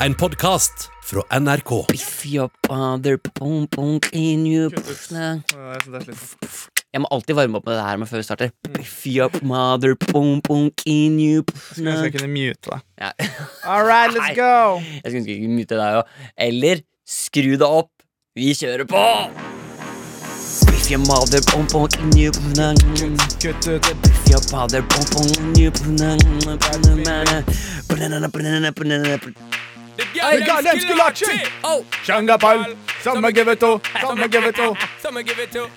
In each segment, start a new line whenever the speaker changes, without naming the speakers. En podkast fra NRK.
Biff your father, punk, punk in you Pff, ne.
Ja, jeg synes det er slitsomt.
Jeg må alltid varme opp med det her med før vi starter. Biff your mother, punk, punk in you Pff,
Jeg skal
ne.
kunne mute deg.
Ja.
All right,
Nei.
let's go!
Jeg skulle ønske jeg kunne mute deg òg. Eller skru deg opp. Vi kjører på! Biff your mother, punk, punk in you Pff, ne.
Kutt ut det
Biff your father, punk, punk in you Pff, ne. Pff, ne, ne, ne. Pff, ne, ne, ne, pff, ne, ne, pff, ne, ne, pff.
Gallenske laksjen!
Au!
Sjangapal! Samme GV2, samme GV2.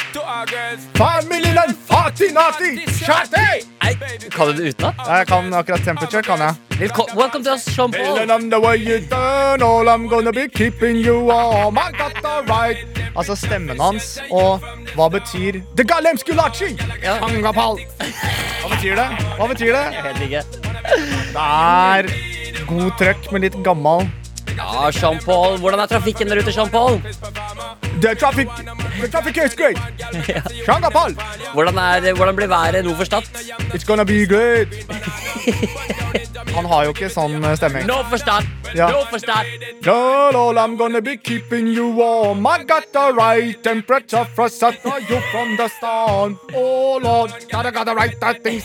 Familien Fatinati! Shati!
Nei, Kan du det utenat?
Jeg kan akkurat temperature, kan jeg.
Velko- Welcome to us, Sean
Ellen,
Paul.
I'm the way you turn, all I'm gonna be keeping you all my God, all right. Altså stemmen hans, og hva betyr Det galemske lachi!
Ja.
Sjangapal! Hva betyr det? Hva betyr det?
Helt ikke.
Det er god trøkk, men litt gammal.
Ja, Jean-Paul, hvordan er trafikken der ute, Jean-Paul?
The traffic, the traffic is great. Sjangapal!
Hvordan, er, hvordan blir været nord for Stad?
It's gonna be great. Han har jo ikke sånn eh, stemme.
Nord for Stad!
Ja.
Nord for Stad!
Girl, all I'm gonna be keeping you warm. I got the right temperature for such a you from the sun. Oh lord, gotta got the right that thing.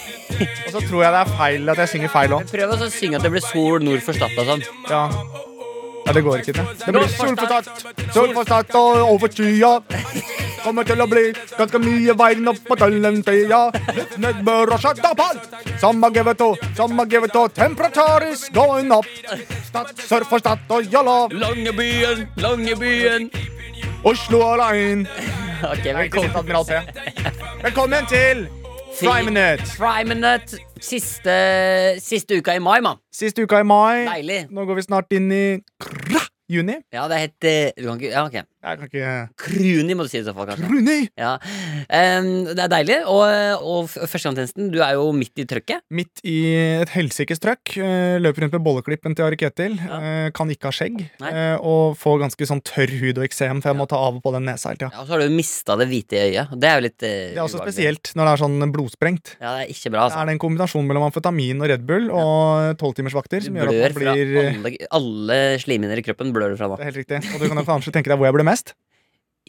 Og så tror jeg det er feil at jeg synger feil òg.
Prøv å så synge at det blir sol nord for Stad og sånn.
Ja. ja, det går ikke. Det, det blir
Solforstad.
solforstått. Solforstått og overskya. Kommer til å bli ganske mye veien opp på tøllentida. Nedbør og sjattapall. Samme GV2, samme GV2. Temperature is going up. Stad, Sørforstad og jalla.
Langebyen, Langebyen.
Oslo aleine.
Ok,
Velkommen,
velkommen.
Admiral P. Velkommen til Fry Minute.
Fry Minute. Siste, siste uka i mai, mann.
Siste uka i mai.
Deilig.
Nå går vi snart inn i krra, juni.
Ja, det heter Du kan ikke Ja, ok.
Jeg kan ikke
Kruni, må du si det i så fall, kanskje.
Runi!
Ja. Em, det er deilig. Og, og f- førstegangstjenesten, du er jo midt i trøkket.
Midt i et helsikes trøkk. eh, Løper rundt med bolleklippen til Ari Ketil. eh, Kan ikke ha skjegg.
Nei.
eh, Og får ganske sånn tørr hud og eksem, for jeg må ta av og på den nesa hele tida.
Ja, og så har du mista det hvite i øyet. og Det er jo litt eh,
Det er også
ubehagelig.
spesielt når det er sånn blodsprengt.
Ja, det er ikke bra,
Det
altså.
er det en kombinasjon mellom amfetamin og Red Bull og tolvtimersvakter
Du
som gjør
blør
at man
fra
blir eh,
alle, alle slimhinner i kroppen blør du fra nå.
Det er helt riktig. Og du kan jo kanskje tenke deg hvor jeg ble mest.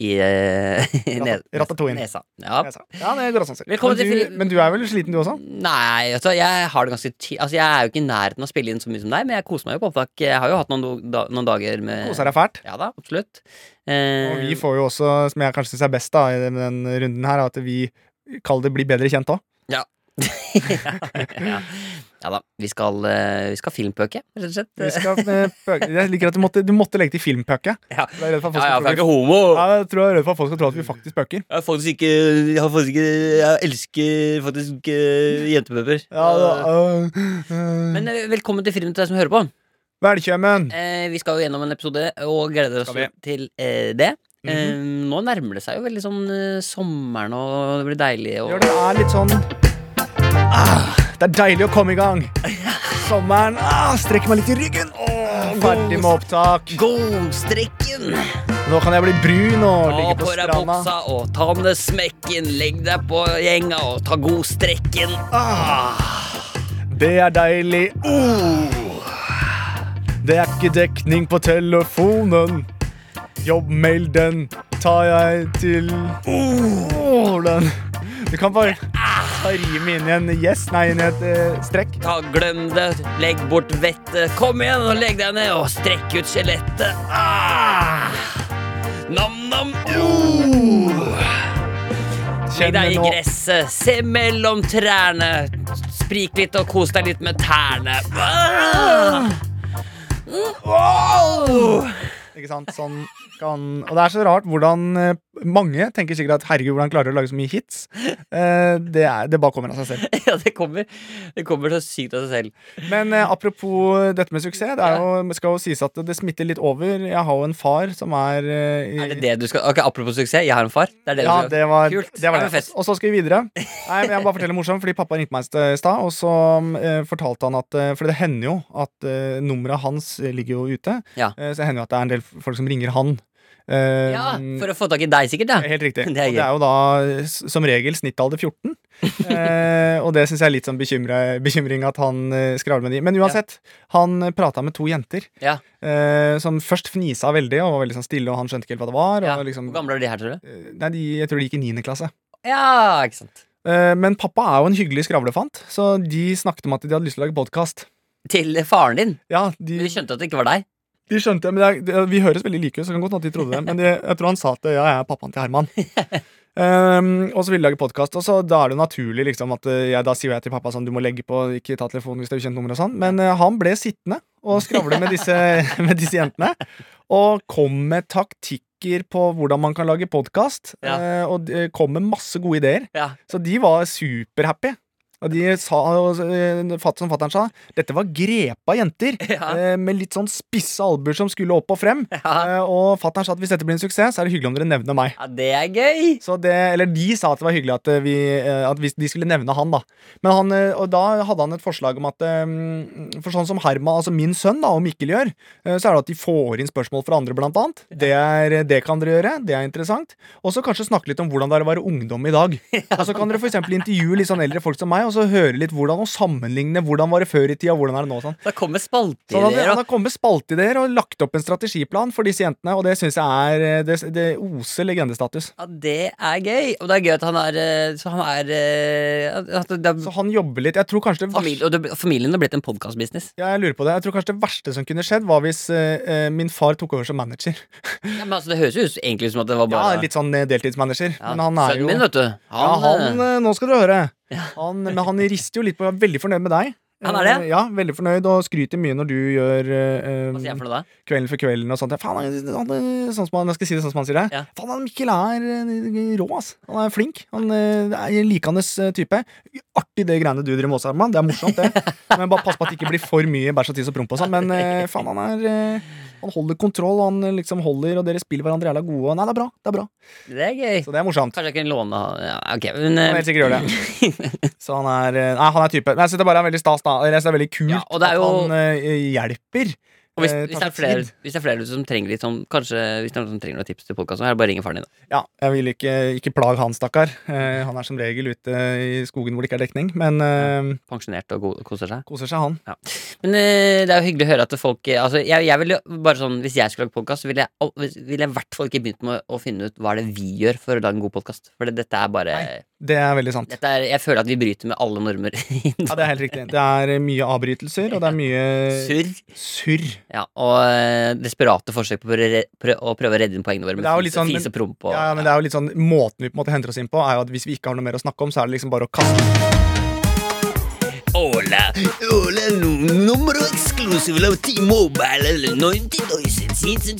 I, eh, i ne-
Ratatouille.
nesa. Ja.
Jeg sa. Ja, det går også an å si.
Velkommen
men,
til
du,
Fri-
men du er vel sliten, du også?
Nei, vet du, hva, jeg har det ganske ty Altså, jeg er jo ikke i nærheten av å spille inn så mye som deg, men jeg koser meg jo på opptak. Jeg har jo hatt noen, do- da noen dager med
Kosa deg fælt.
Ja da, absolutt.
Og
Eh,
vi får jo også, som jeg kanskje syns er best da i den den runden her, at vi kaller det bli bedre kjent òg.
ja. ja da. Vi skal, eh, vi skal filmpøke, rett og slett.
Jeg liker at du måtte, du måtte legge til filmpøke.
Ja.
Jeg er redd for at folk
Ja, ja, for jeg er
skal tro
ikke homo.
ja, jeg tror jeg er redd for at folk skal tro at vi faktisk spøker.
Jeg er faktisk ikke Jeg, har faktisk ikke, jeg elsker faktisk eh, ikke jentepupper.
Ja, da, øh, øh.
Men eh, velkommen til Friminutt, deg som hører på.
Velkommen!
Eh, vi skal jo gjennom en episode og gleder oss
Skal vi? Mhm.
til eh, det. Eh, nå nærmer det seg jo veldig sånn eh, sommeren, og det blir deilig. Og,
Ja, det er litt sånn ah, Det er deilig å komme i gang. Sommeren ah, strekker meg litt i ryggen. Åh, ferdig med opptak.
Godstrikken!
Nå kan jeg bli brun og
Ta
ligge
på
på
deg
stranda.
buksa og ta med deg smekken. Legg deg på gjenga og ta godstrikken.
Ah, Det er deilig. Oh. Det er ikke dekning på telefonen. Jobbmail, den tar jeg til oh, den. Du kan bare ta rimet inn i en yes, nei, inn i et eh, strekk.
Ta, glem det, legg bort vettet. Kom igjen og legg deg ned og strekk ut skjelettet. Ah! Nam-nam. Legg
Kjenner
deg i
nå-
gresset, se mellom trærne. Sprik litt og kos deg litt med tærne. Ah! Wow!
Ikke sant? Sånn kan, og det er så rart hvordan eh, mange tenker sikkert at herregud, hvordan klarer du å lage så mye hits? Eh, det, er, det bare kommer av seg selv.
Ja, det kommer, det kommer så sykt av seg selv.
Men eh, apropos dette med suksess, det er jo, skal jo sies at det smitter litt over. Jeg har jo en far som er eh, i-
Er det det du skal Ok, Apropos suksess, jeg har en far. Det er det
Ja,
du skal
det var
Kult.
det. Var
Ja, men
det.
fett.
Og så skal vi videre. Nei, men jeg må bare fortelle morsomt, fordi Pappa ringte meg i stad, og så eh, fortalte han at eh, For det hender jo at eh, nummeret hans ligger jo ute,
Ja.
eh, så det hender jo at det er en del folk som ringer han. Eh,
Ja, For å få tak i deg, sikkert. da
Helt riktig.
Det er
og det
gøy.
er jo da s- som regel snittalder 14. Eh, og det syns jeg er litt sånn bekymre, bekymring at han eh, skravler med de. Men uansett, han prata med to jenter
Ja.
eh, som først fnisa veldig og var veldig sånn stille, og han skjønte ikke helt hva det var.
Ja.
Og liksom,
Hvor gamle er de her, tror du?
eh, nei, de, jeg tror de gikk i 9. klasse.
Ja, ikke sant
Eh, men pappa er jo en hyggelig skravlefant, så de snakket om at de hadde lyst til å lage podkast.
Til faren din.
Ja,
Du
de,
skjønte at det ikke var deg.
de skjønte men det er, det, Vi høres veldig like ut, så det kan godt hende at de trodde det. Men de, jeg tror han sa at ja, jeg er pappaen til Herman. Ehm, og så ville de lage podkast, og så da er det jo naturlig liksom, at eh, jeg, da sier jeg til pappa sånn du må legge på, ikke ta telefonen hvis det er ukjent nummer og sånn. Men eh, han ble sittende og skravle med disse, med disse jentene. Og kom med taktikker på hvordan man kan lage podkast.
Ja.
og de kom med masse gode ideer.
Ja.
Så de var superhappy. Og de sa, og, eh, fatt- som fattern sa, dette var grepa jenter.
Ja.
eh, Med litt sånn spisse albuer som skulle opp og frem.
Ja.
Eh, Og fattern sa at hvis dette blir en suksess, så er det hyggelig om dere nevner meg.
ja, det er gøy!
Så det, eller de sa at det var hyggelig at, eh, vi, eh, at vi, de skulle nevne han, da. Men han, eh, og da hadde han et forslag om at eh, For sånn som Herman, altså min sønn, da, og Mikkel gjør, eh, så er det at de får inn spørsmål fra andre, blant annet. Det, er, eh, det kan dere gjøre. Det er interessant. Og så kanskje snakke litt om hvordan det er å være ungdom i dag. Og så kan dere for eksempel intervjue litt sånn eldre folk som meg, og så høre litt hvordan og sammenligne hvordan var det før i tida, hvordan er det nå, og sånn.
Da kommer
Så han,
spalteideer
hadde, Sånn han
og
har kommet med spalteideer og lagt opp en strategiplan for disse jentene, og det syns jeg er eh, Det, det oser legendestatus.
ja, det er gøy! Og det er gøy at han er eh, Så han er eh, at det er
Så han jobber litt. Jeg tror kanskje det verste,
familie, Og det, familien har blitt en podkastbusiness.
ja, jeg lurer på det. Jeg tror kanskje det verste som kunne skjedd, var hvis eh, eh, min far tok over som manager.
Ja, men altså, det høres jo ut- egentlig ut som at det var
Ja,
bare
litt sånn eh, deltidsmanager.
Ja,
Men han er jo
Sønnen min, vet du.
Ja,
Han,
han
eh,
eh, Nå skal du høre. Han, men han rister jo litt på Jeg er veldig fornøyd med deg.
Han er det?
Eh, Ja, veldig fornøyd, og skryter mye når du gjør eh,
Hva sier jeg for noe da?
Kvelden for kvelden og sånt. Faen, han, han, eh, sånn som han, jeg skal si det sånn som han sier det.
Ja.
Faen, han Mikkel er eh, rå, ass. Han er flink. Han eh, er en likandes eh, type. Artig det greiene du driver med også, Herman. Det er morsomt, det. Men bare pass på at det ikke blir for mye bæsj og tiss og promp og sånn. Men eh, faen, han er eh, Han holder kontroll, og han eh, liksom holder, og dere spiller hverandre jævla gode. Og nei, det er bra. Det er bra.
Det er gøy.
Så det er morsomt.
Kanskje jeg kan låne han ja, Ok, men eh,
Han helt sikkert gjør det. Så han er eh, Nei, han er type. Men jeg syns det bare er veldig stas, da. Eller jeg synes det er veldig kult
Ja, og det er jo-
at han eh, hjelper.
og hvis,
eh,
hvis, det er
tar seg
flere,
tid.
hvis det er flere som trenger litt sånn Kanskje hvis det er noen som trenger noen tips til podkasten, er det bare å ringe faren din. da.
Ja, jeg vil ikke, ikke plage han, stakkar. Eh, han er som regel ute i skogen hvor det ikke er dekning, men eh,
Pensjonert og go- koser seg.
koser seg, han.
Men eh, det er jo hyggelig å høre at folk eh, altså, jeg, jeg ville jo bare sånn, Hvis jeg skulle lage podkast, ville jeg al- hvis- ville jeg i hvert fall ikke begynt med å, å finne ut hva er det vi gjør for å lage en god podkast. For det- dette er bare
Det er veldig sant.
dette er, Jeg føler at vi bryter med alle normer.
Ja, Det er helt eh, riktig. Det er mye avbrytelser, og det er mye
Surr.
surr.
Ja, og eh, desperate forsøk på å re- prø- å prøve å redde inn poengene våre
Men
med
det er jo litt
fise,
sånn-
fise og promp. Og,
Ja, ja, men det er jo litt sånn, Måten vi på en måte henter oss inn på, er jo at hvis vi ikke har noe mer å snakke om, så er det liksom bare å kaste
Hola, hola, nu- número exclusivo de T-Mobile, el 92.105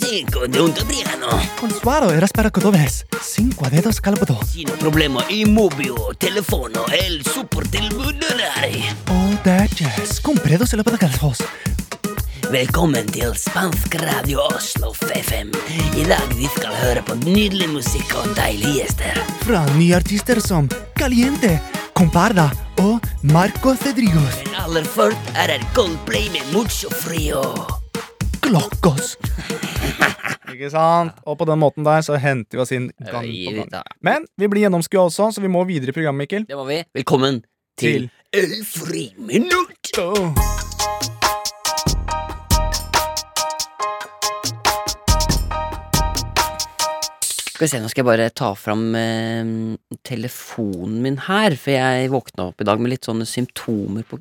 de un Tabriano.
Consuelo, eres para Codoves. Cinco dedos calvados.
Sin problema, y móvil, teléfono, el soporte del vulnerable.
All that jazz. Compredos el apodacalfos.
Velkommen til Spansk Radio Oslo FM. I dag vi skal høre på nydelig musikk og deilige gjester.
Fra nye artister som Caliente, Comparda og Marco Cedrios.
Men aller først er det Coldplay med Mucho Frio.
Klokkos. Ikke sant? Og på den måten der så henter vi oss inn gang på gang. Men vi blir gjennomskua også, så vi må videre i programmet, Mikkel.
Det var vi. Velkommen til
til
El Friminutt. Skal vi se, nå skal jeg bare ta fram eh, telefonen min her, for jeg våkna opp i dag med litt sånne symptomer på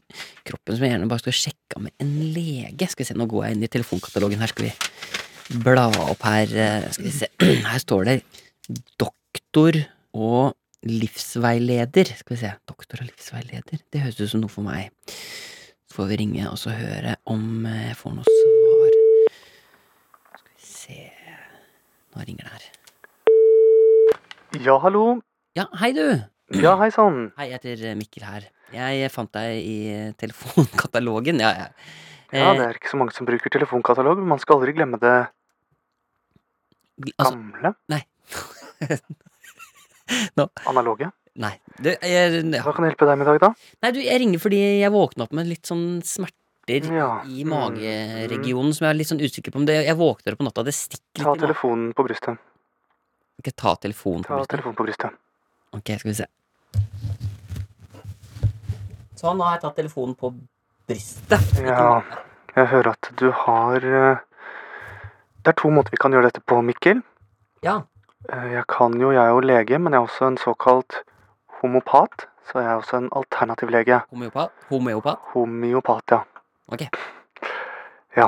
kroppen som jeg gjerne bare skulle sjekka med en lege. Skal vi se, nå går jeg inn i telefonkatalogen her, skal vi bla opp her. eh, Skal vi se, her står det doktor og livsveileder. Skal vi se, doktor og livsveileder, det høres ut som noe for meg. Så får vi ringe og så høre om eh, jeg får noe svar. Skal vi se, nå ringer det her.
Ja, hallo.
Ja, hei du!
Ja, hei sann.
Hei, jeg heter eh, Mikkel her. Jeg fant deg i eh, telefonkatalogen. Ja, ja.
Ja,
Eh,
det er ikke så mange som bruker telefonkatalog, men man skal aldri glemme det
gl- altså,
gamle,
nå,
analoge.
nei. Du, jeg, ja.
Hva kan jeg hjelpe deg med i dag, da?
nei, du, jeg ringer fordi jeg våkna opp med litt sånn smerte smerter
Ja.
i mageregionen som jeg er litt sånn usikker på om det Jeg våkner opp på natta, det stikker
Ta
litt i magen.
telefonen på brystet.
Ikke ta telefonen.
Ta
Kristian.
telefonen på brystet.
Ok, skal vi se. Sånn, nå har jeg tatt telefonen på brystet.
Ja, jeg hører at du har eh, Det er to måter vi kan gjøre dette på, Mikkel.
Ja.
Eh, Jeg kan jo, jeg er jo lege, men jeg er også en såkalt homopat. Så jeg er også en alternativ lege.
Homeopat. Homeopat.
Homeopat, ja.
Ok.
Ja.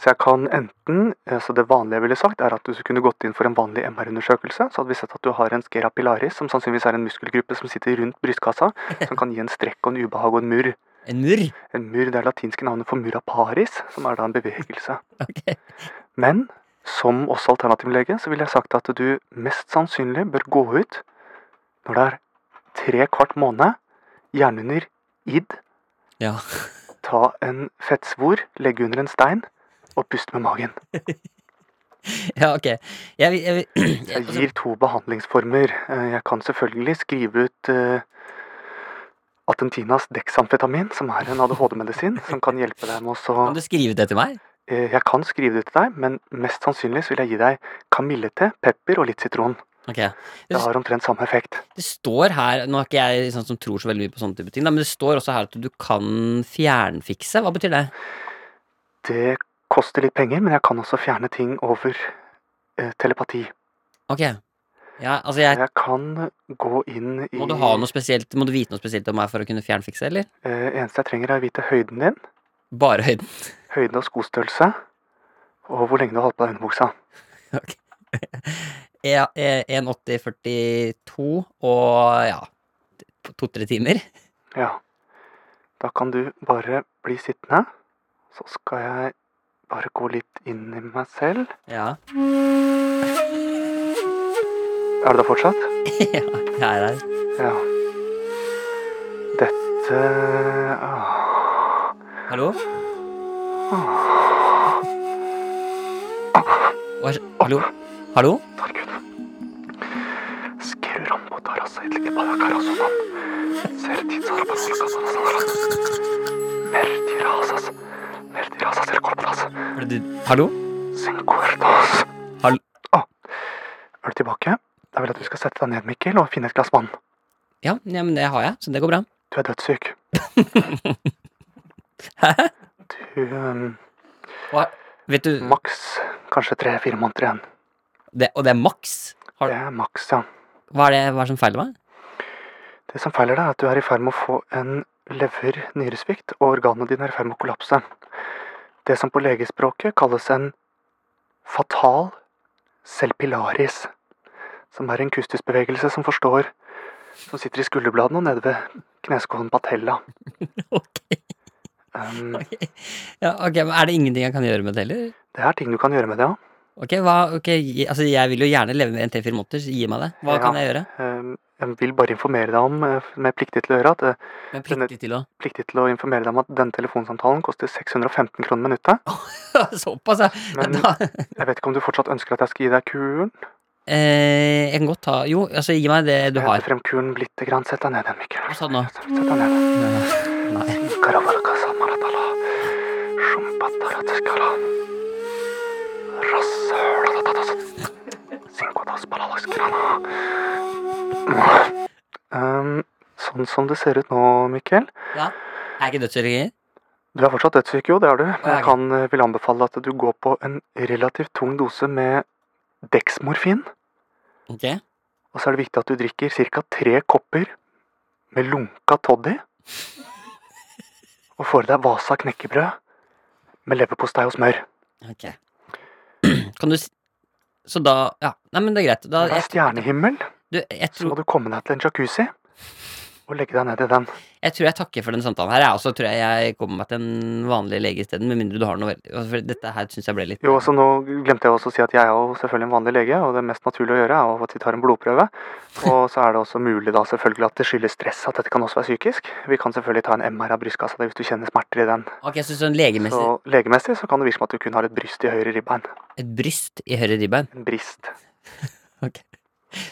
Så jeg kan enten eh, Så det vanlige jeg ville sagt, er at du kunne gått inn for en vanlig MR-undersøkelse. Så hadde vi sett at du har en scera pilaris, som sannsynligvis er en muskelgruppe som sitter rundt brystkassa, som kan gi en strekk og en ubehag og en murr.
En murr.
En murr det er latinske navnet for murra paris, som er da en bevegelse.
Ok.
Men som også alternativlege så ville jeg sagt at du mest sannsynlig bør gå ut når det er tre kvart måned, gjerne under id,
Ja.
ta en fettsvor, legge under en stein og puste med magen.
Ja, ok. Jeg, vil- jeg, vil-
Jeg
altså,
gir to behandlingsformer. Eh, Jeg kan selvfølgelig skrive ut eh, Atentinas dexamfetamin, som er en ADHD-medisin, som kan hjelpe deg med å så
kan du skrive det til meg?
Eh, Jeg kan skrive det til deg, men mest sannsynlig så vil jeg gi deg kamillete, pepper og litt sitron.
Ok.
Det har omtrent samme effekt.
Det står her Nå er ikke jeg sånn som tror så veldig mye på sånne type ting, da, men det står også her at du kan fjernfikse. Hva betyr det?
Det koster litt penger, men jeg kan også fjerne ting over eh, telepati.
Ok. Ja, altså jeg
Jeg kan gå inn i
Må du ha noe spesielt Må du vite noe spesielt om meg for å kunne fjernfikse, eller?
eh, Eneste jeg trenger, er å vite høyden din,
Bare høyden.
høyden og skostørrelse, og hvor lenge du har holdt på deg underbuksa.
Ok. Ja, eh, 1,80,42 og ja To-tre timer.
Ja. Da kan du bare bli sittende, så skal jeg bare gå litt inn i meg selv.
Ja.
Er du der fortsatt?
ja jeg er her.
Ja. Dette ah.
Hallo? Hva er Hallo? Hallo?
Herregud. Skrur han på terrassa i tillegg på det karassonen. Ser tidsar på karassonen. Merdi rasas. Merdi rasas eller kolpras.
Er det du Hallo?
Sincuerdos.
Hall-
Ah. altså. Er du tilbake? Da vil jeg at du skal sette deg ned, Mikkel, og finne et glass vann.
Ja, ja, men det har jeg, så det går bra.
Du er dødssyk.
Hæ?
Du ehm,
Hva- Vet du
Maks kanskje tre-fire måneder igjen.
det, Og det er maks? Har-
Det er maks, ja.
Hva er det hva er det som feiler meg?
Det som feiler deg, er at du er i ferd med å få en lever-nyresvikt, og organene dine er i ferd med å kollapse. Det som på legespråket kalles en fatal selpilaris, som er en kustusbevegelse som forstår som sitter i skulderbladene og nede ved kneskålen patella.
Ok,
Um,
ok. Ja, ok, men Er det ingenting jeg kan gjøre med det heller?
det er ting du kan gjøre med det, ja.
Ok, hva, ok, gi- altså Jeg vil jo gjerne leve mer enn tre-fire måneder. så Gi meg det. Hva
Ja.
kan jeg gjøre?
Um, jeg vil bare informere deg om, eh, med pliktig til å gjøre, at eh,
Jeg er
Denne-
pliktig til å
pliktig til å informere deg om at denne telefonsamtalen koster 615 kroner minuttet.
Såpass, ja.
Men-
Da,
Jeg vet ikke om du fortsatt ønsker at jeg skal gi deg kuren?
eh, jeg kan godt ta Jo, altså gi meg det du
Jeg henter
har.
frem kuren litt. Grann. Sett deg ned igjen, Mikkel.
Sånn nå.
Sett deg ned.
Nei.
Karavaraka samaratala. Shumpataratskara. Rasølatatas. Sinkotas paralakskrana. Ehm, Sånn som det ser ut nå, Mikkel.
Ja. Er jeg ikke dødsurenger?
Du er fortsatt dødssyk, jo, det er du. Men
Ja,
Jeg kan, eh, vil anbefale at du går på en relativt tung dose med dexmorfin.
Ok.
Og så er det viktig at du drikker ca. tre kopper med lunka toddy. Og får i deg Vasa knekkebrød med leverpostei og smør.
ok. Kan du s- Så da Ja. Nei, men det er greit. Da,
Når det er
jeg,
stjernehimmel,
du, jeg,
så må
tror,
du komme deg til en jacuzzi og legge deg ned i den.
jeg tror jeg takker for den samtalen her. Jeg også tror jeg jeg kommer meg til en vanlig lege isteden. Med mindre du har noe veldig altså, For dette her syns jeg ble litt
Jo, altså Nå glemte jeg også å si at jeg er jo selvfølgelig en vanlig lege, og det mest naturlige å gjøre er jo at vi tar en blodprøve. Og så er det også mulig da selvfølgelig at det skyldes stress at dette kan også være psykisk. Vi kan selvfølgelig ta en MR av brystkassa di hvis du kjenner smerter i den.
Ok, så sånn legemessig
Så legemessig så kan det virke som at du kun har et bryst i høyre ribbein.
Et bryst i høyre ribbein.
En brist.
Ok.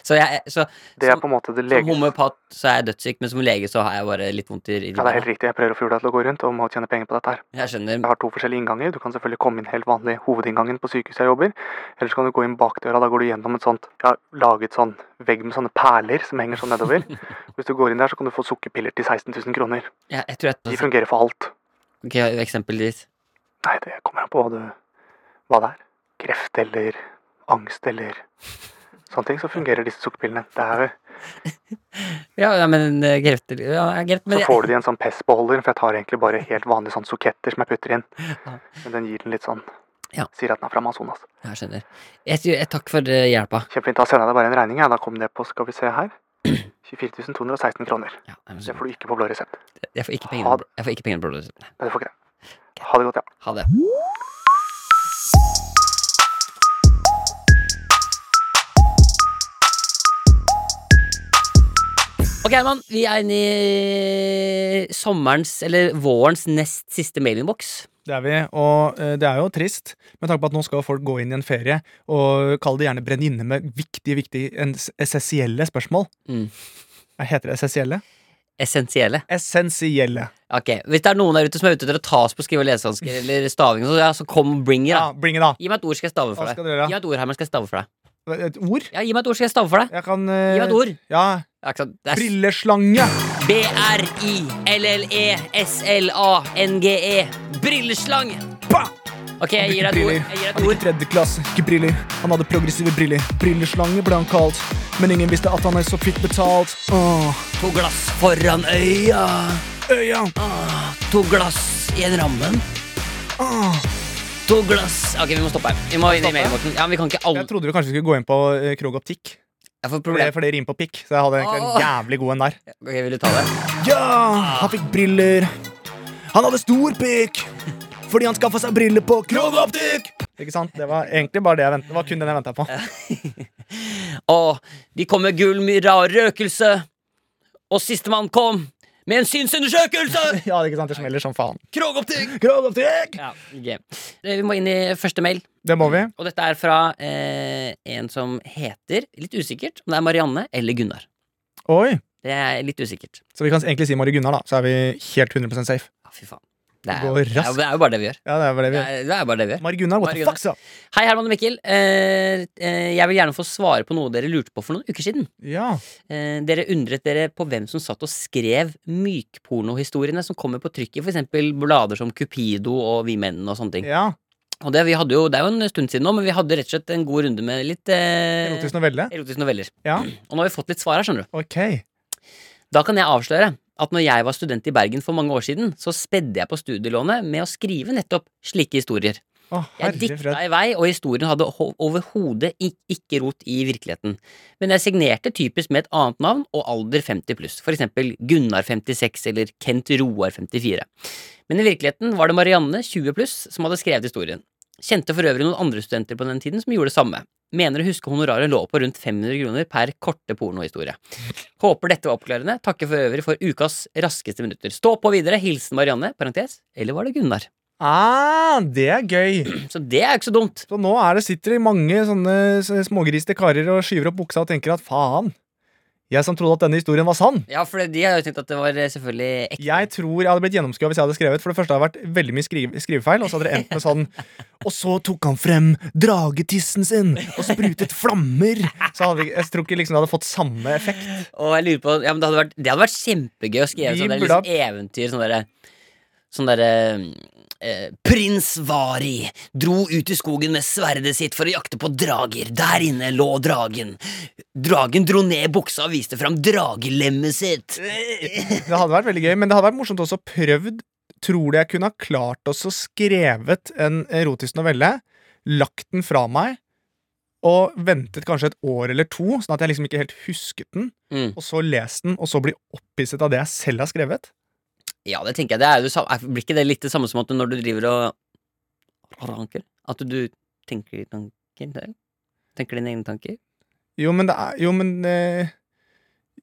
Så, jeg, så
Det er på en måte det
som
leges...
homopat så er jeg dødssyk, men som lege så har jeg bare litt vondt i
Ja, det er
ryggen.
helt riktig. Jeg prøver å få jorda til å gå rundt og må tjene penger på dette her.
Jeg skjønner.
Jeg har to forskjellige innganger. Du kan selvfølgelig komme inn helt vanlig hovedinngangen på sykehuset jeg jobber. Eller så kan du gå inn bakdøra. Da går du gjennom et sånt Jeg har laget sånn vegg med sånne perler som henger sånn nedover. Hvis du går inn der, så kan du få sukkerpiller til 16 000 kroner.
Jeg, jeg tror
De
jeg
fungerer for alt.
Ok, Eksempelvis.
Nei, det kommer an på hva, du, hva det er. Kreft eller angst eller sånne ting. Så fungerer disse sukkerpillene. Det er, jo-
Ja, ja, men eh, krefter Ja, ja, greit, men
så
jeg,
får du de i en sånn pestbeholder, for jeg tar egentlig bare helt vanlige sånn suketter som jeg putter inn. Men den gir den litt sånn
Ja.
Sier at den er fra Amazonas.
jeg skjønner. Jeg, sier- jeg, takk for eh, hjelpa.
Kjempefint. Da sender jeg deg bare en regning. Ja. Da kom det på, skal vi se her 24 216 kroner.
Ja, nei, men
Det
så-
får du ikke på blå resept.
jeg får ikke
Ha
pengene
det.
Jeg får ikke pengene på blodresepten.
Nei, du får ikke det. Ha det godt, ja.
Ha det. Ok, Herman. Vi er inne i sommerens, eller vårens nest siste mailinnboks.
Det er vi, og eh, det er jo trist, med tanke på at nå skal folk gå inn i en ferie, og kall det gjerne brenne inne med viktige, viktige, en- essensielle spørsmål.
Mm.
Hva heter det? Essensielle?
Essensielle.
Essensielle.
Ok, Hvis det er noen der ute som er ute etter å ta oss på skrive- og lesevansker eller staving, så, ja, så kom bring it.
Ja,
da.
bring it on.
Gi meg et ord, skal jeg stave for
Hva
deg.
skal du gjøre?
Gi meg et ord, Herman, skal jeg stave for deg.
Et ord?
Ja, gi meg et ord, skal jeg stave for deg.
Jeg kan
Gi
eh,
meg et ord.
Ja.
Ja, ikke sant? Det er E
Brilleslange.
B-R-I-L-L-E-S-L-A-N-G-E. E. Brilleslang!
Ba!
Ok, jeg gir deg et ord. Jeg gir deg et
Han gikk
ord.
tredje klasse, ikke briller. Han hadde progressive briller. Brilleslange ble han kalt. Men ingen visste at han er så fikk betalt. Åh,
To glass foran øya.
øya.
To glass i en rammen.
Åh.
To glass Ok, vi må stoppe her. Vi må inn i mailboksen. Ja, men vi kan ikke alle
Jeg trodde vi kanskje skulle gå inn på eh, Krog Optikk.
Jeg får
For det,
problem.
for det rimer på pikk. Så jeg hadde egentlig
Åh.
en jævlig god en der.
Ok, vil du ta det?
Ja, han fikk briller. Han hadde stor pikk fordi han skaffa seg briller på Krogoptikk. Ikke sant? Det var egentlig bare det jeg ventet. Det var kun den jeg venta på.
Å, de kom med gull med rar røkelse. Og sistemann kom med en synsundersøkelse!
Ja, ikke sant? Det smeller som faen.
Krogoptikk!
Krogoptikk!
Ja, ok. Vi må inn i første mail.
Det må vi.
Og dette er fra eh, en som heter, litt usikkert, om det er Marianne eller Gunnar.
Oi.
Det er litt usikkert.
Så vi kan egentlig si Mari Gunnar, da. Så er vi helt 100 safe.
Ja, fy faen. Det er,
Det går
jo- det er,
raskt.
jo- det er jo bare det vi gjør.
Ja, det er vel det vi
Det
gjør.
er, det er bare det vi gjør.
Mari Gunnar, what
Mari
the
Gunnar.
fuck, sa
Hei, Herman og Mikkel. Eh, eh, jeg vil gjerne få svare på noe dere lurte på for noen uker siden.
Ja.
Eh, dere undret dere på hvem som satt og skrev mykpornohistoriene som kommer på trykk i for eksempel blader som Cupido og Vi menn og sånne ting.
ja.
Og det, vi hadde jo, det er jo en stund siden nå, men vi hadde rett og slett en god runde med litt eh,
Erotisk novelle.
erotiske noveller.
Ja.
Og nå har vi fått litt svar her, skjønner du.
Ok.
Da kan jeg avsløre at når jeg var student i Bergen for mange år siden, så spedde jeg på studielånet med å skrive nettopp slike historier.
Å,
Jeg
herre
dikta
fred.
i vei, og historien hadde ho- overhodet ik- ikke rot i virkeligheten. Men jeg signerte typisk med et annet navn og alder 50 pluss, for eksempel Gunnar 56 eller Kent Roar 54. Men i virkeligheten var det Marianne 20 pluss som hadde skrevet historien. Kjente for øvrig noen andre studenter på den tiden som gjorde det samme. Mener å huske honoraret lå på rundt 500 kroner per korte pornohistorie. Håper dette var oppklarende. Takker for øvrig for ukas raskeste minutter. Stå på videre. Hilsen Marianne. Parentes. Eller var det Gunnar?
Ah, det er gøy.
Så det er jo ikke så dumt.
Så nå er det sitter det mange sånne s- smågriste karer og skyver opp buksa og tenker at faen, jeg som trodde at denne historien var sann.
Ja, for de har jo tenkt at det var eh, selvfølgelig ekte.
Jeg tror jeg hadde blitt gjennomskua hvis jeg hadde skrevet. For det første hadde det vært veldig mye skrive, skrivefeil, og så hadde det endt med sånn Og så tok han frem dragetissen sin og sprutet flammer. Så hadde vi, jeg tror ikke liksom det hadde fått samme effekt.
Og jeg lurer på, ja, men det hadde vært, det hadde vært kjempegøy å skrive
Vi
sånn der,
burde
liksom, eventyr. Sånn derre sånn der, eh, Prins Vari dro ut i skogen med sverdet sitt for å jakte på drager. Der inne lå dragen. Dragen dro ned buksa og viste fram dragelemmet sitt.
Det hadde vært veldig gøy, men det hadde vært morsomt også å prøvd. Tror du jeg kunne ha klart også skrevet en erotisk novelle, lagt den fra meg, og ventet kanskje et år eller to, sånn at jeg liksom ikke helt husket den,
Mm.
og så lest den, og så bli opphisset av det jeg selv har skrevet?
Ja, det tenker jeg. Det er jo, sam- er- blir ikke det litt det samme som at du, når du driver og ranker? At du tenker dine tanker? der? Tenker dine egne tanker?
Jo, men det er Jo, men eh,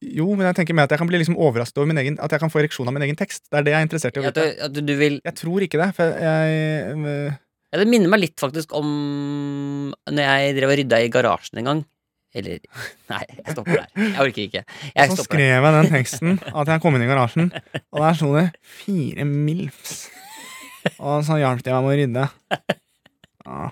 Jo, men jeg tenker mer at jeg kan bli liksom overrasket over min egen At jeg kan få ereksjon av min egen tekst. Det er det jeg er interessert i å
At
vite.
du, at du vil
Jeg tror ikke det, for jeg eh,
Ja, det minner meg litt faktisk om Når jeg drev og rydda i garasjen en gang Eller Nei, jeg stopper der. Jeg orker ikke. Jeg
Så
stopper der.
skrev jeg den teksten at jeg kom inn i garasjen, og der sto det fire milfs. Og så hjalp de meg med å rydde. Ja.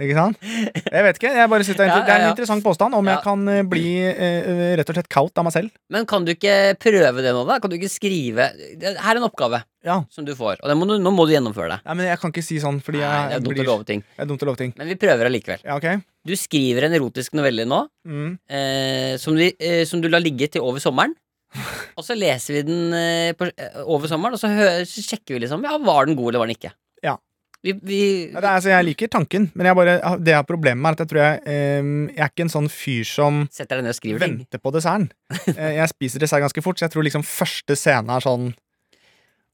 Ikke sant? Jeg vet ikke. jeg bare synes Det er,
Ja, ja,
det er en
ja.
interessant påstand om
Ja.
jeg kan eh, bli eh, rett og slett kalt av meg selv.
Men kan du ikke prøve det nå, da? Kan du ikke skrive det- Her er en oppgave
Ja.
som du får, og den må du, nå må du gjennomføre det.
Nei, men Jeg kan ikke si sånn, fordi jeg,
Nei, det er dumt
blir,
å love ting.
det er dumt å love ting.
Men vi prøver allikevel.
Ja, ok?
Du skriver en erotisk novelle nå,
Mm.
eh, som, vi, eh, som du lar ligge til over sommeren. Og så leser vi den eh, på, eh, over sommeren, og så, hø så sjekker vi liksom Ja, var den god, eller var den ikke?
Ja.
Vi, vi,
Ja, det er, altså, jeg liker tanken, men jeg bare, ah, det jeg har problemet med, er at jeg tror jeg, eh, jeg er ikke en sånn fyr som
setter deg ned og skriver ting.
venter på desserten. Eh, jeg spiser dessert ganske fort, så jeg tror liksom første scene er sånn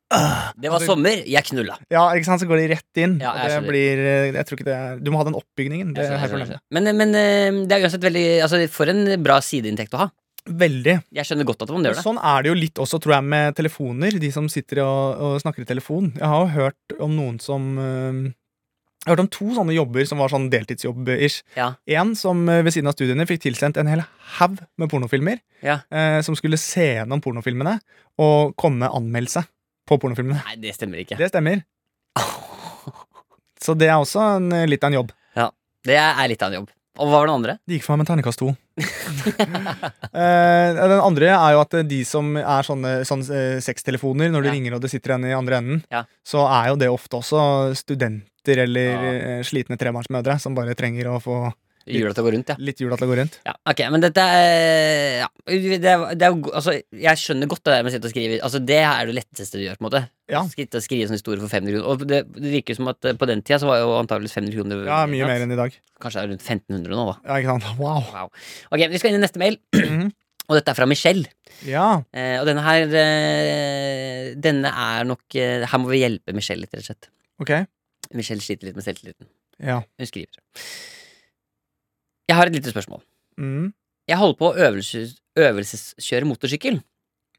Det var
Altså-
sommer, jeg knulla.
Ja, ikke sant, så går de rett inn.
Ja,
og
jeg
det
skjønner.
blir, eh, jeg tror ikke det er, Du må ha den oppbygningen. Det
Jeg skjønner,
er
jeg
problemet.
skjønner. Men, men eh, det er uansett veldig Altså, for en bra sideinntekt å ha.
Veldig.
Jeg skjønner godt at man
Og
gjør det.
sånn er det jo litt også, tror jeg, med telefoner. De som sitter og, og snakker i telefon. Jeg har jo hørt om noen som eh, jeg har hørt om to sånne jobber som var sånn deltidsjobb-ish.
Ja.
En som eh, ved siden av studiene fikk tilsendt en hel haug med pornofilmer.
Ja.
Eh, som skulle se gjennom pornofilmene og komme med anmeldelse på pornofilmene.
Nei, det stemmer ikke.
Det stemmer. Så det er også en, eh, litt av en jobb.
Det er litt av en jobb. Og hva var den andre?
Det gikk for meg med terningkast to. Eh, den andre er jo at eh, de som er sånne, sånne eh, sextelefoner, når du
Ja.
ringer og det sitter en i andre enden,
Ja.
så er jo det ofte også studenter eller
Ja.
eh, slitne trebarnsmødre som bare trenger å få
Jula til å gå rundt, ja.
litt hjula til å gå rundt.
ja. Ok, men dette er ja. det, er- det er jo go- Altså, jeg skjønner godt det der med å sitte og skrive. Altså, det er det letteste du gjør, på en måte.
Ja.
Sitte og skrive sånn historie for 500 kroner. Og det, det virker som at eh, på den tida så var jo antakeligvis 500 kroner
Ja, mye mer enn i dag.
Kanskje det er rundt 1500 nå, da.
Ja, ikke sant? Wow.
Wow. Ok, vi skal inn i neste mail,
Mhm.
og dette er fra Michelle.
Ja.
Eh, og denne her eh, Denne er nok eh, Her må vi hjelpe Michelle litt, rett og slett.
Ok.
Michelle sliter litt med selvtilliten.
Ja.
Hun skriver. Jeg har et lite spørsmål.
Mm.
Jeg holder på å øvelses, øvelseskjøre motorsykkel,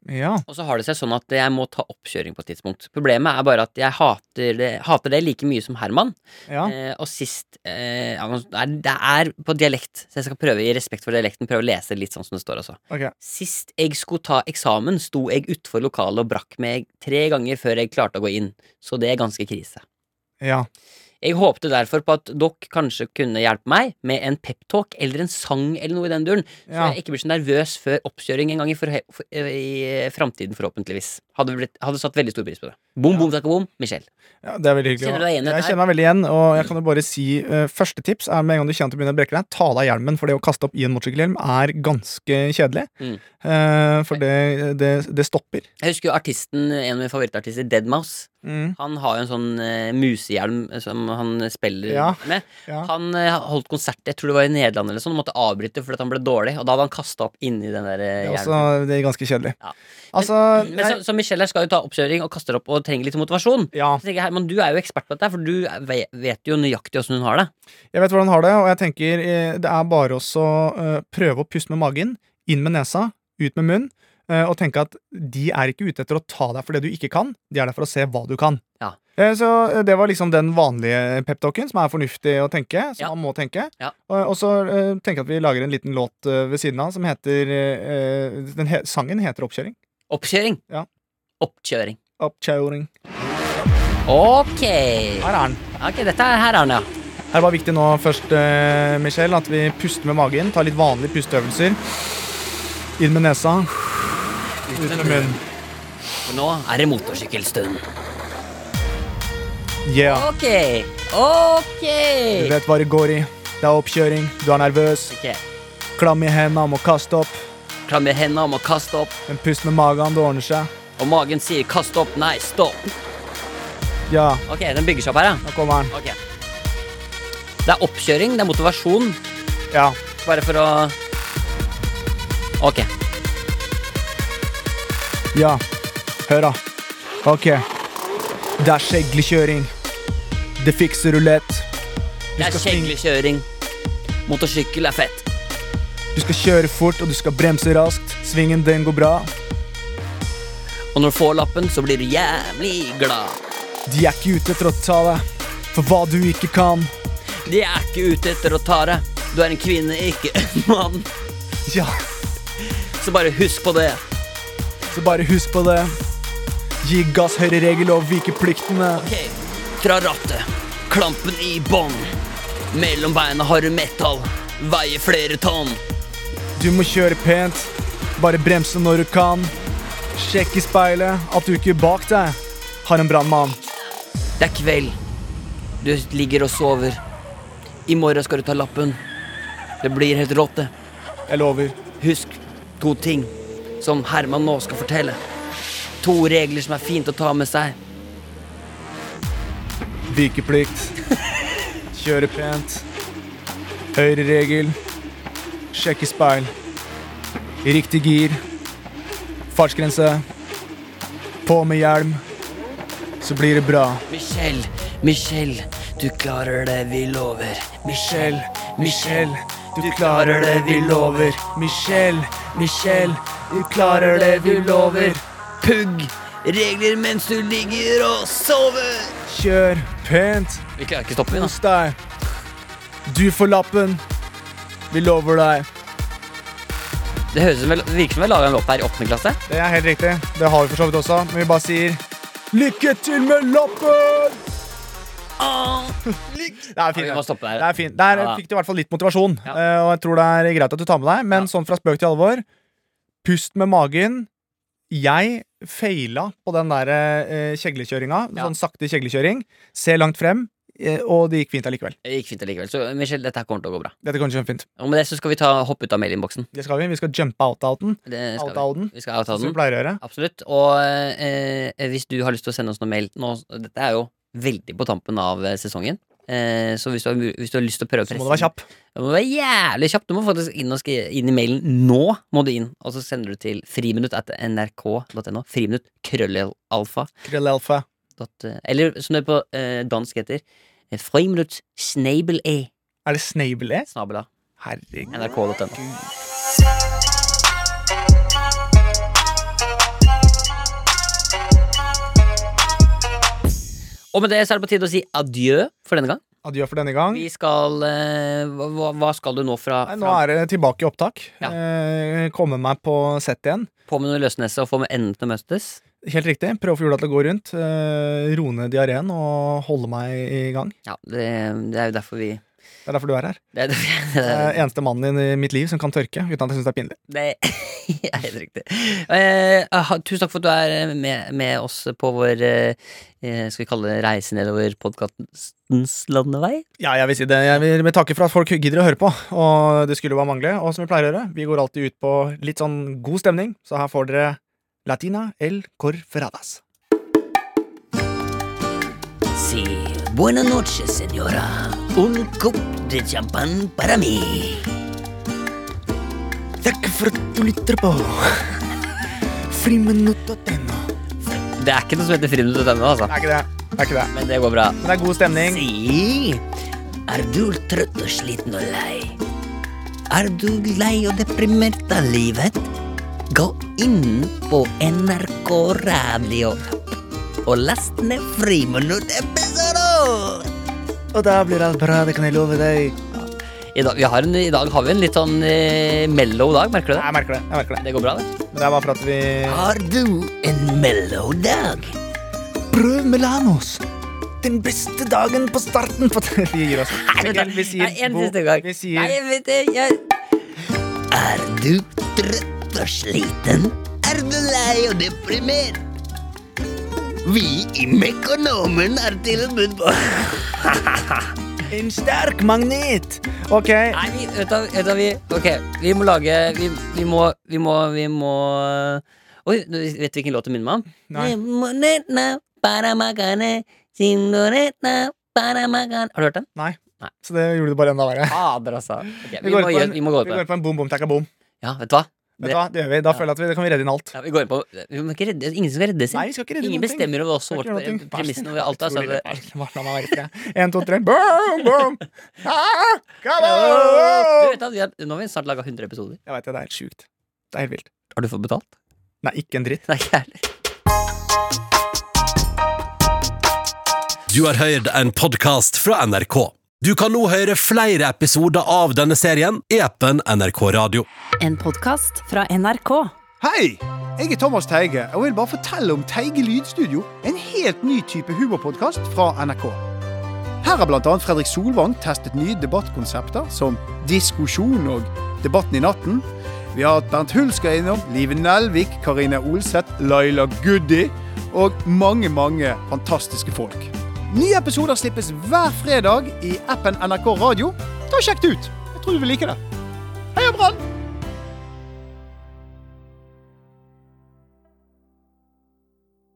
Ja.
og så har det seg sånn at jeg må ta oppkjøring på et tidspunkt. Problemet er bare at jeg hater det, hater det like mye som Herman,
Ja.
eh, og sist eh, ja, nå- det er- Det er på dialekt, så jeg skal prøve i respekt for dialekten prøve å lese det litt sånn som det står, altså.
Ok.
Sist jeg skulle ta eksamen, sto jeg utfor lokalet og brakk meg tre ganger før jeg klarte å gå inn, så det er ganske krise.
Ja.
Jeg håpte derfor på at dere kanskje kunne hjelpe meg med en peptalk eller en sang eller noe i den duren, så
Ja.
jeg ikke blir så nervøs før oppkjøring en gang i, for, for, i framtiden, forhåpentligvis. Hadde, blitt, hadde satt veldig stor pris på det. Bom, bom, takka, bom. Michelle.
Ja, det er veldig hyggelig.
Kjenner du deg igjen i
jeg
dette her?
kjenner meg veldig igjen, og jeg kan jo bare si eh, første tips er med en gang du kjenner at du begynner å brekke deg, ta av deg hjelmen, for det å kaste opp i en motorsykkelhjelm er ganske kjedelig.
Mm.
Eh, for det, det, det stopper.
Jeg husker jo artisten, en av mine favorittartister, Deadmouse.
Mm,
Han har jo en sånn eh, musehjelm som han spiller
Ja.
med.
Ja.
Han eh, holdt konsert, jeg tror det var i Nederland eller sånn, og måtte avbryte fordi at han ble dårlig. Og da hadde han kasta opp inni den der eh,
Det er også
hjelmen.
det er ganske kjedelig.
Ja.
Altså
Men så, så Michelle her skal jo ta oppkjøring og kaster opp og trenger litt motivasjon.
jeg, Ja.
Så tenker jeg, Herman, du er jo ekspert på dette, for du er- ve- vet jo nøyaktig åssen hun har det.
Jeg vet hvordan han har det, og jeg tenker eh, det er bare også eh, prøve å puste med magen, inn med nesa, ut med munnen, eh, og tenke at de er ikke ute etter å ta deg for det du ikke kan, de er der for å se hva du kan.
Ja.
Eh, Så eh, det var liksom den vanlige peptalken, som er fornuftig å tenke, som
Ja.
man må tenke.
Ja.
Og, og så eh, tenker jeg at vi lager en liten låt eh, ved siden av som heter eh, eh, den he Sangen heter Oppkjøring.
Oppkjøring.
Ja.
Oppkjøring.
Oppkjøring.
Ok.
Her er den.
Ok, Dette er her, Arne.
Her var viktig nå først, eh, Michelle, at vi puster med magen. Tar litt vanlige pusteøvelser. Inn med nesa. Ut med munnen.
For nå er det motorsykkelstund.
Yeah.
Ok.
Du
Ok.
vet hva det går i. Det er oppkjøring. Du er nervøs.
Ok.
Klam i hendene, må kaste opp.
Klammer hendene om å kaste opp,
Men pust med magen, det ordner seg.
og magen sier 'kast opp', nei, stopp.
Ja,
Ok, Den bygger seg opp her, ja.
nå kommer den.
Ok. Det er oppkjøring, det er motivasjon,
Ja.
bare for å Ok.
Ja, hør da. Ok. Det er skjeglekjøring. Det fikser du lett. Du
Det er
skal svinge-
kjeglekjøring. Motorsykkel er fett.
Du skal kjøre fort, og du skal bremse raskt. Svingen, den går bra.
Og når du får lappen, så blir du jævlig glad.
De er ikke ute etter å ta deg for hva du ikke kan.
De er ikke ute etter å ta deg Du er en kvinne, ikke en mann.
Ja,
Så bare husk på det.
så bare husk på det. Gi gass, høyreregel og vikepliktene.
Ok, Fra rattet, klampen i bånn. Mellom beina har du metall, veier flere tonn.
Du må kjøre pent. Bare bremse når du kan. Sjekk i speilet at du ikke bak deg har en brannmann.
Det er kveld. Du ligger og sover. I morgen skal du ta lappen. Det blir helt rått, det.
Jeg lover.
Husk to ting som Herman nå skal fortelle. To regler som er fint å ta med seg.
Vikeplikt. Kjøre pent. Høyreregel. Sjekke speil. Riktig gir. Fartsgrense. På med hjelm. Så blir det bra.
Michelle, Michelle, du klarer det, vi lover.
Michelle, Michelle, du klarer det, vi lover. Michelle, Michelle, du klarer det, vi lover.
Pugg regler mens du ligger og sover.
Kjør pent.
Vi klarer ikke å stoppe, vi, da.
Kos deg. Du får lappen. Vi lover deg.
Det høres vel, det virker som vi har laga en låt her i åttende klasse.
Det er helt riktig. Det har vi for så vidt også. Men vi bare sier lykke til med lappen! Det er fint.
Vi må stoppe der.
Det er fint. Der
Eh, Ja.
fikk du i hvert fall litt motivasjon.
Ja.
eh, Og jeg tror det er greit at du tar med deg. Men
Ja.
sånn fra spøk til alvor, pust med magen. Jeg feila på den der eh, kjeglekjøringa.
Ja.
Sånn sakte kjeglekjøring. Se langt frem. eh, Og det gikk fint allikevel.
Det gikk fint allikevel. Så Michelle, dette her kommer til å gå bra.
Dette kan kjempefint.
Og med det så skal vi ta, hoppe ut av mailinnboksen.
Det skal vi. Vi skal jumpe out-outen.
Det skal vi.
Out-outen.
Vi skal outa
Som vi
den.
pleier å gjøre.
Absolutt. Og eh, hvis du har lyst til å sende oss noe mail nå, Dette er jo veldig på tampen av eh, sesongen. Eh, så hvis du, har, mu- hvis du har lyst til å prøve å
Så
presse
må du være
inn-
kjapp.
Du må være jævlig kjapp. Du må faktisk inn, og skri, inn i mailen nå. må du inn Og så sender du til friminutt at nrk.no. Friminutt krøllalfa.
Krøllalfa.
dot, eh, Eller som det på eh, dansk heter, eh, friminutt snabel e.
Er det Snable E?
Snabela
Herregud.
nrk.no. Og med det så er det på tide å si adjø for denne gang.
Adjø for denne gang.
Vi skal eh, hva- hva, hva skal du nå fra,
Nei, nå
fra
er det tilbake i opptak.
Ja.
Eh, komme meg på sett igjen.
på med noe løsnese og få med endene til å møtes?
Helt riktig. Prøve å få hjula til å gå rundt. Eh, roe ned diareen og holde meg i gang.
Ja, det, det er jo derfor vi
Det er derfor du er her.
Det, er derfor- det,
Jeg
er-
er eneste mannen i mitt liv som kan tørke uten at jeg syns det er pinlig.
det er helt riktig. Eh, aha, tusen takk for at du er eh, med, med oss på vår eh, eh, Skal vi kalle det reise nedover podkastens landevei?
Ja, jeg vil si det. Jeg vil takke for at folk gidder å høre på, og det skulle bare mangle. Og som vi pleier å gjøre, vi går alltid ut på litt sånn god stemning, så her får dere Latina el Corferadas.
Si buena noche, señora. Un cup de champán para mí.
Takk for at du lytter på. Friminutt og tenna.
Det er ikke noe som heter friminutt.no, altså.
Det er ikke det. Det er ikke det.
Men det går bra.
Men det er god stemning.
Si, er du trøtt og sliten og lei? Er du lei og deprimert av livet? Gå inn på NRK Radio og last ned Friminutt-episoder!
Og da blir alt bra, det kan jeg love deg.
I dag, vi har en, I dag har vi en litt sånn eh, mellow dag, merker du det?
Jeg merker det. jeg merker det.
Det går bra, det.
Men det er bare for at vi
Har du en mellow dag?
Prøv Melanos. Den beste dagen på starten på Vi gir oss. Mikkel, vi sier
Nei, en
bo-
siste gang.
Vi sier
Nei, jeg vet ikke, jeg... Er du trøtt og sliten? Er du lei og deprimert? Vi i Mekonomen har tilbud på
en sterk magnet. Ok.
Nei, vi, vet du, vet du, vi Ok, vi må lage Vi, vi må Vi må, vi må Oi, du vet du hvilken låt det minner meg om?
Nei.
Limonena, paramagane, sindorena, paramagane Har du hørt den?
Så det gjorde du bare enda verre.
Fader, altså. Ok, vi,
går
må,
ut på
gjøre- vi
en-
må gå ut
Vi
på
går
den.
på en boom, boom, takka, boom.
Ja, vet du hva?
Vet
Det-
du hva, det gjør vi. Da føler jeg at vi, da kan vi redde inn alt.
Ja, vi går inn på Vi må ikke redde Ingen skal reddes
Nei, vi skal ikke redde
Ingen
noen ting.
bestemmer over oss og
Skal ikke gjøre noe.
vårt eh, premissen over alt. Altså,
Utrolig
det,
rart. Bare La meg være i fred. En, to, tre. Boom, boom! Ah, come
du
on!
vet at vi har, nå har vi snart laga 100 episoder.
Jeg vet det, det er helt sjukt. Det er helt vilt.
Har du fått betalt?
Nei, ikke en dritt.
Nei, ikke ærlig.
Du har hørt en podkast fra NRK. Du kan nå høre flere episoder av denne serien i appen NRK Radio.
En podkast fra NRK.
Hei! Jeg er Thomas Teige, og jeg vil bare fortelle om Teige Lydstudio. En helt ny type humorpodkast fra NRK. Her har bl.a. Fredrik Solvang testet nye debattkonsepter som diskosjon og Debatten i natten. Vi har hatt Bernt Hulsker innom, Live Nelvik, Karina Olseth, Laila Goody og mange, mange fantastiske folk. Nye episoder slippes hver fredag i appen NRK Radio. Ta og Sjekk det ut! Jeg tror du vil like det. Heia Brann!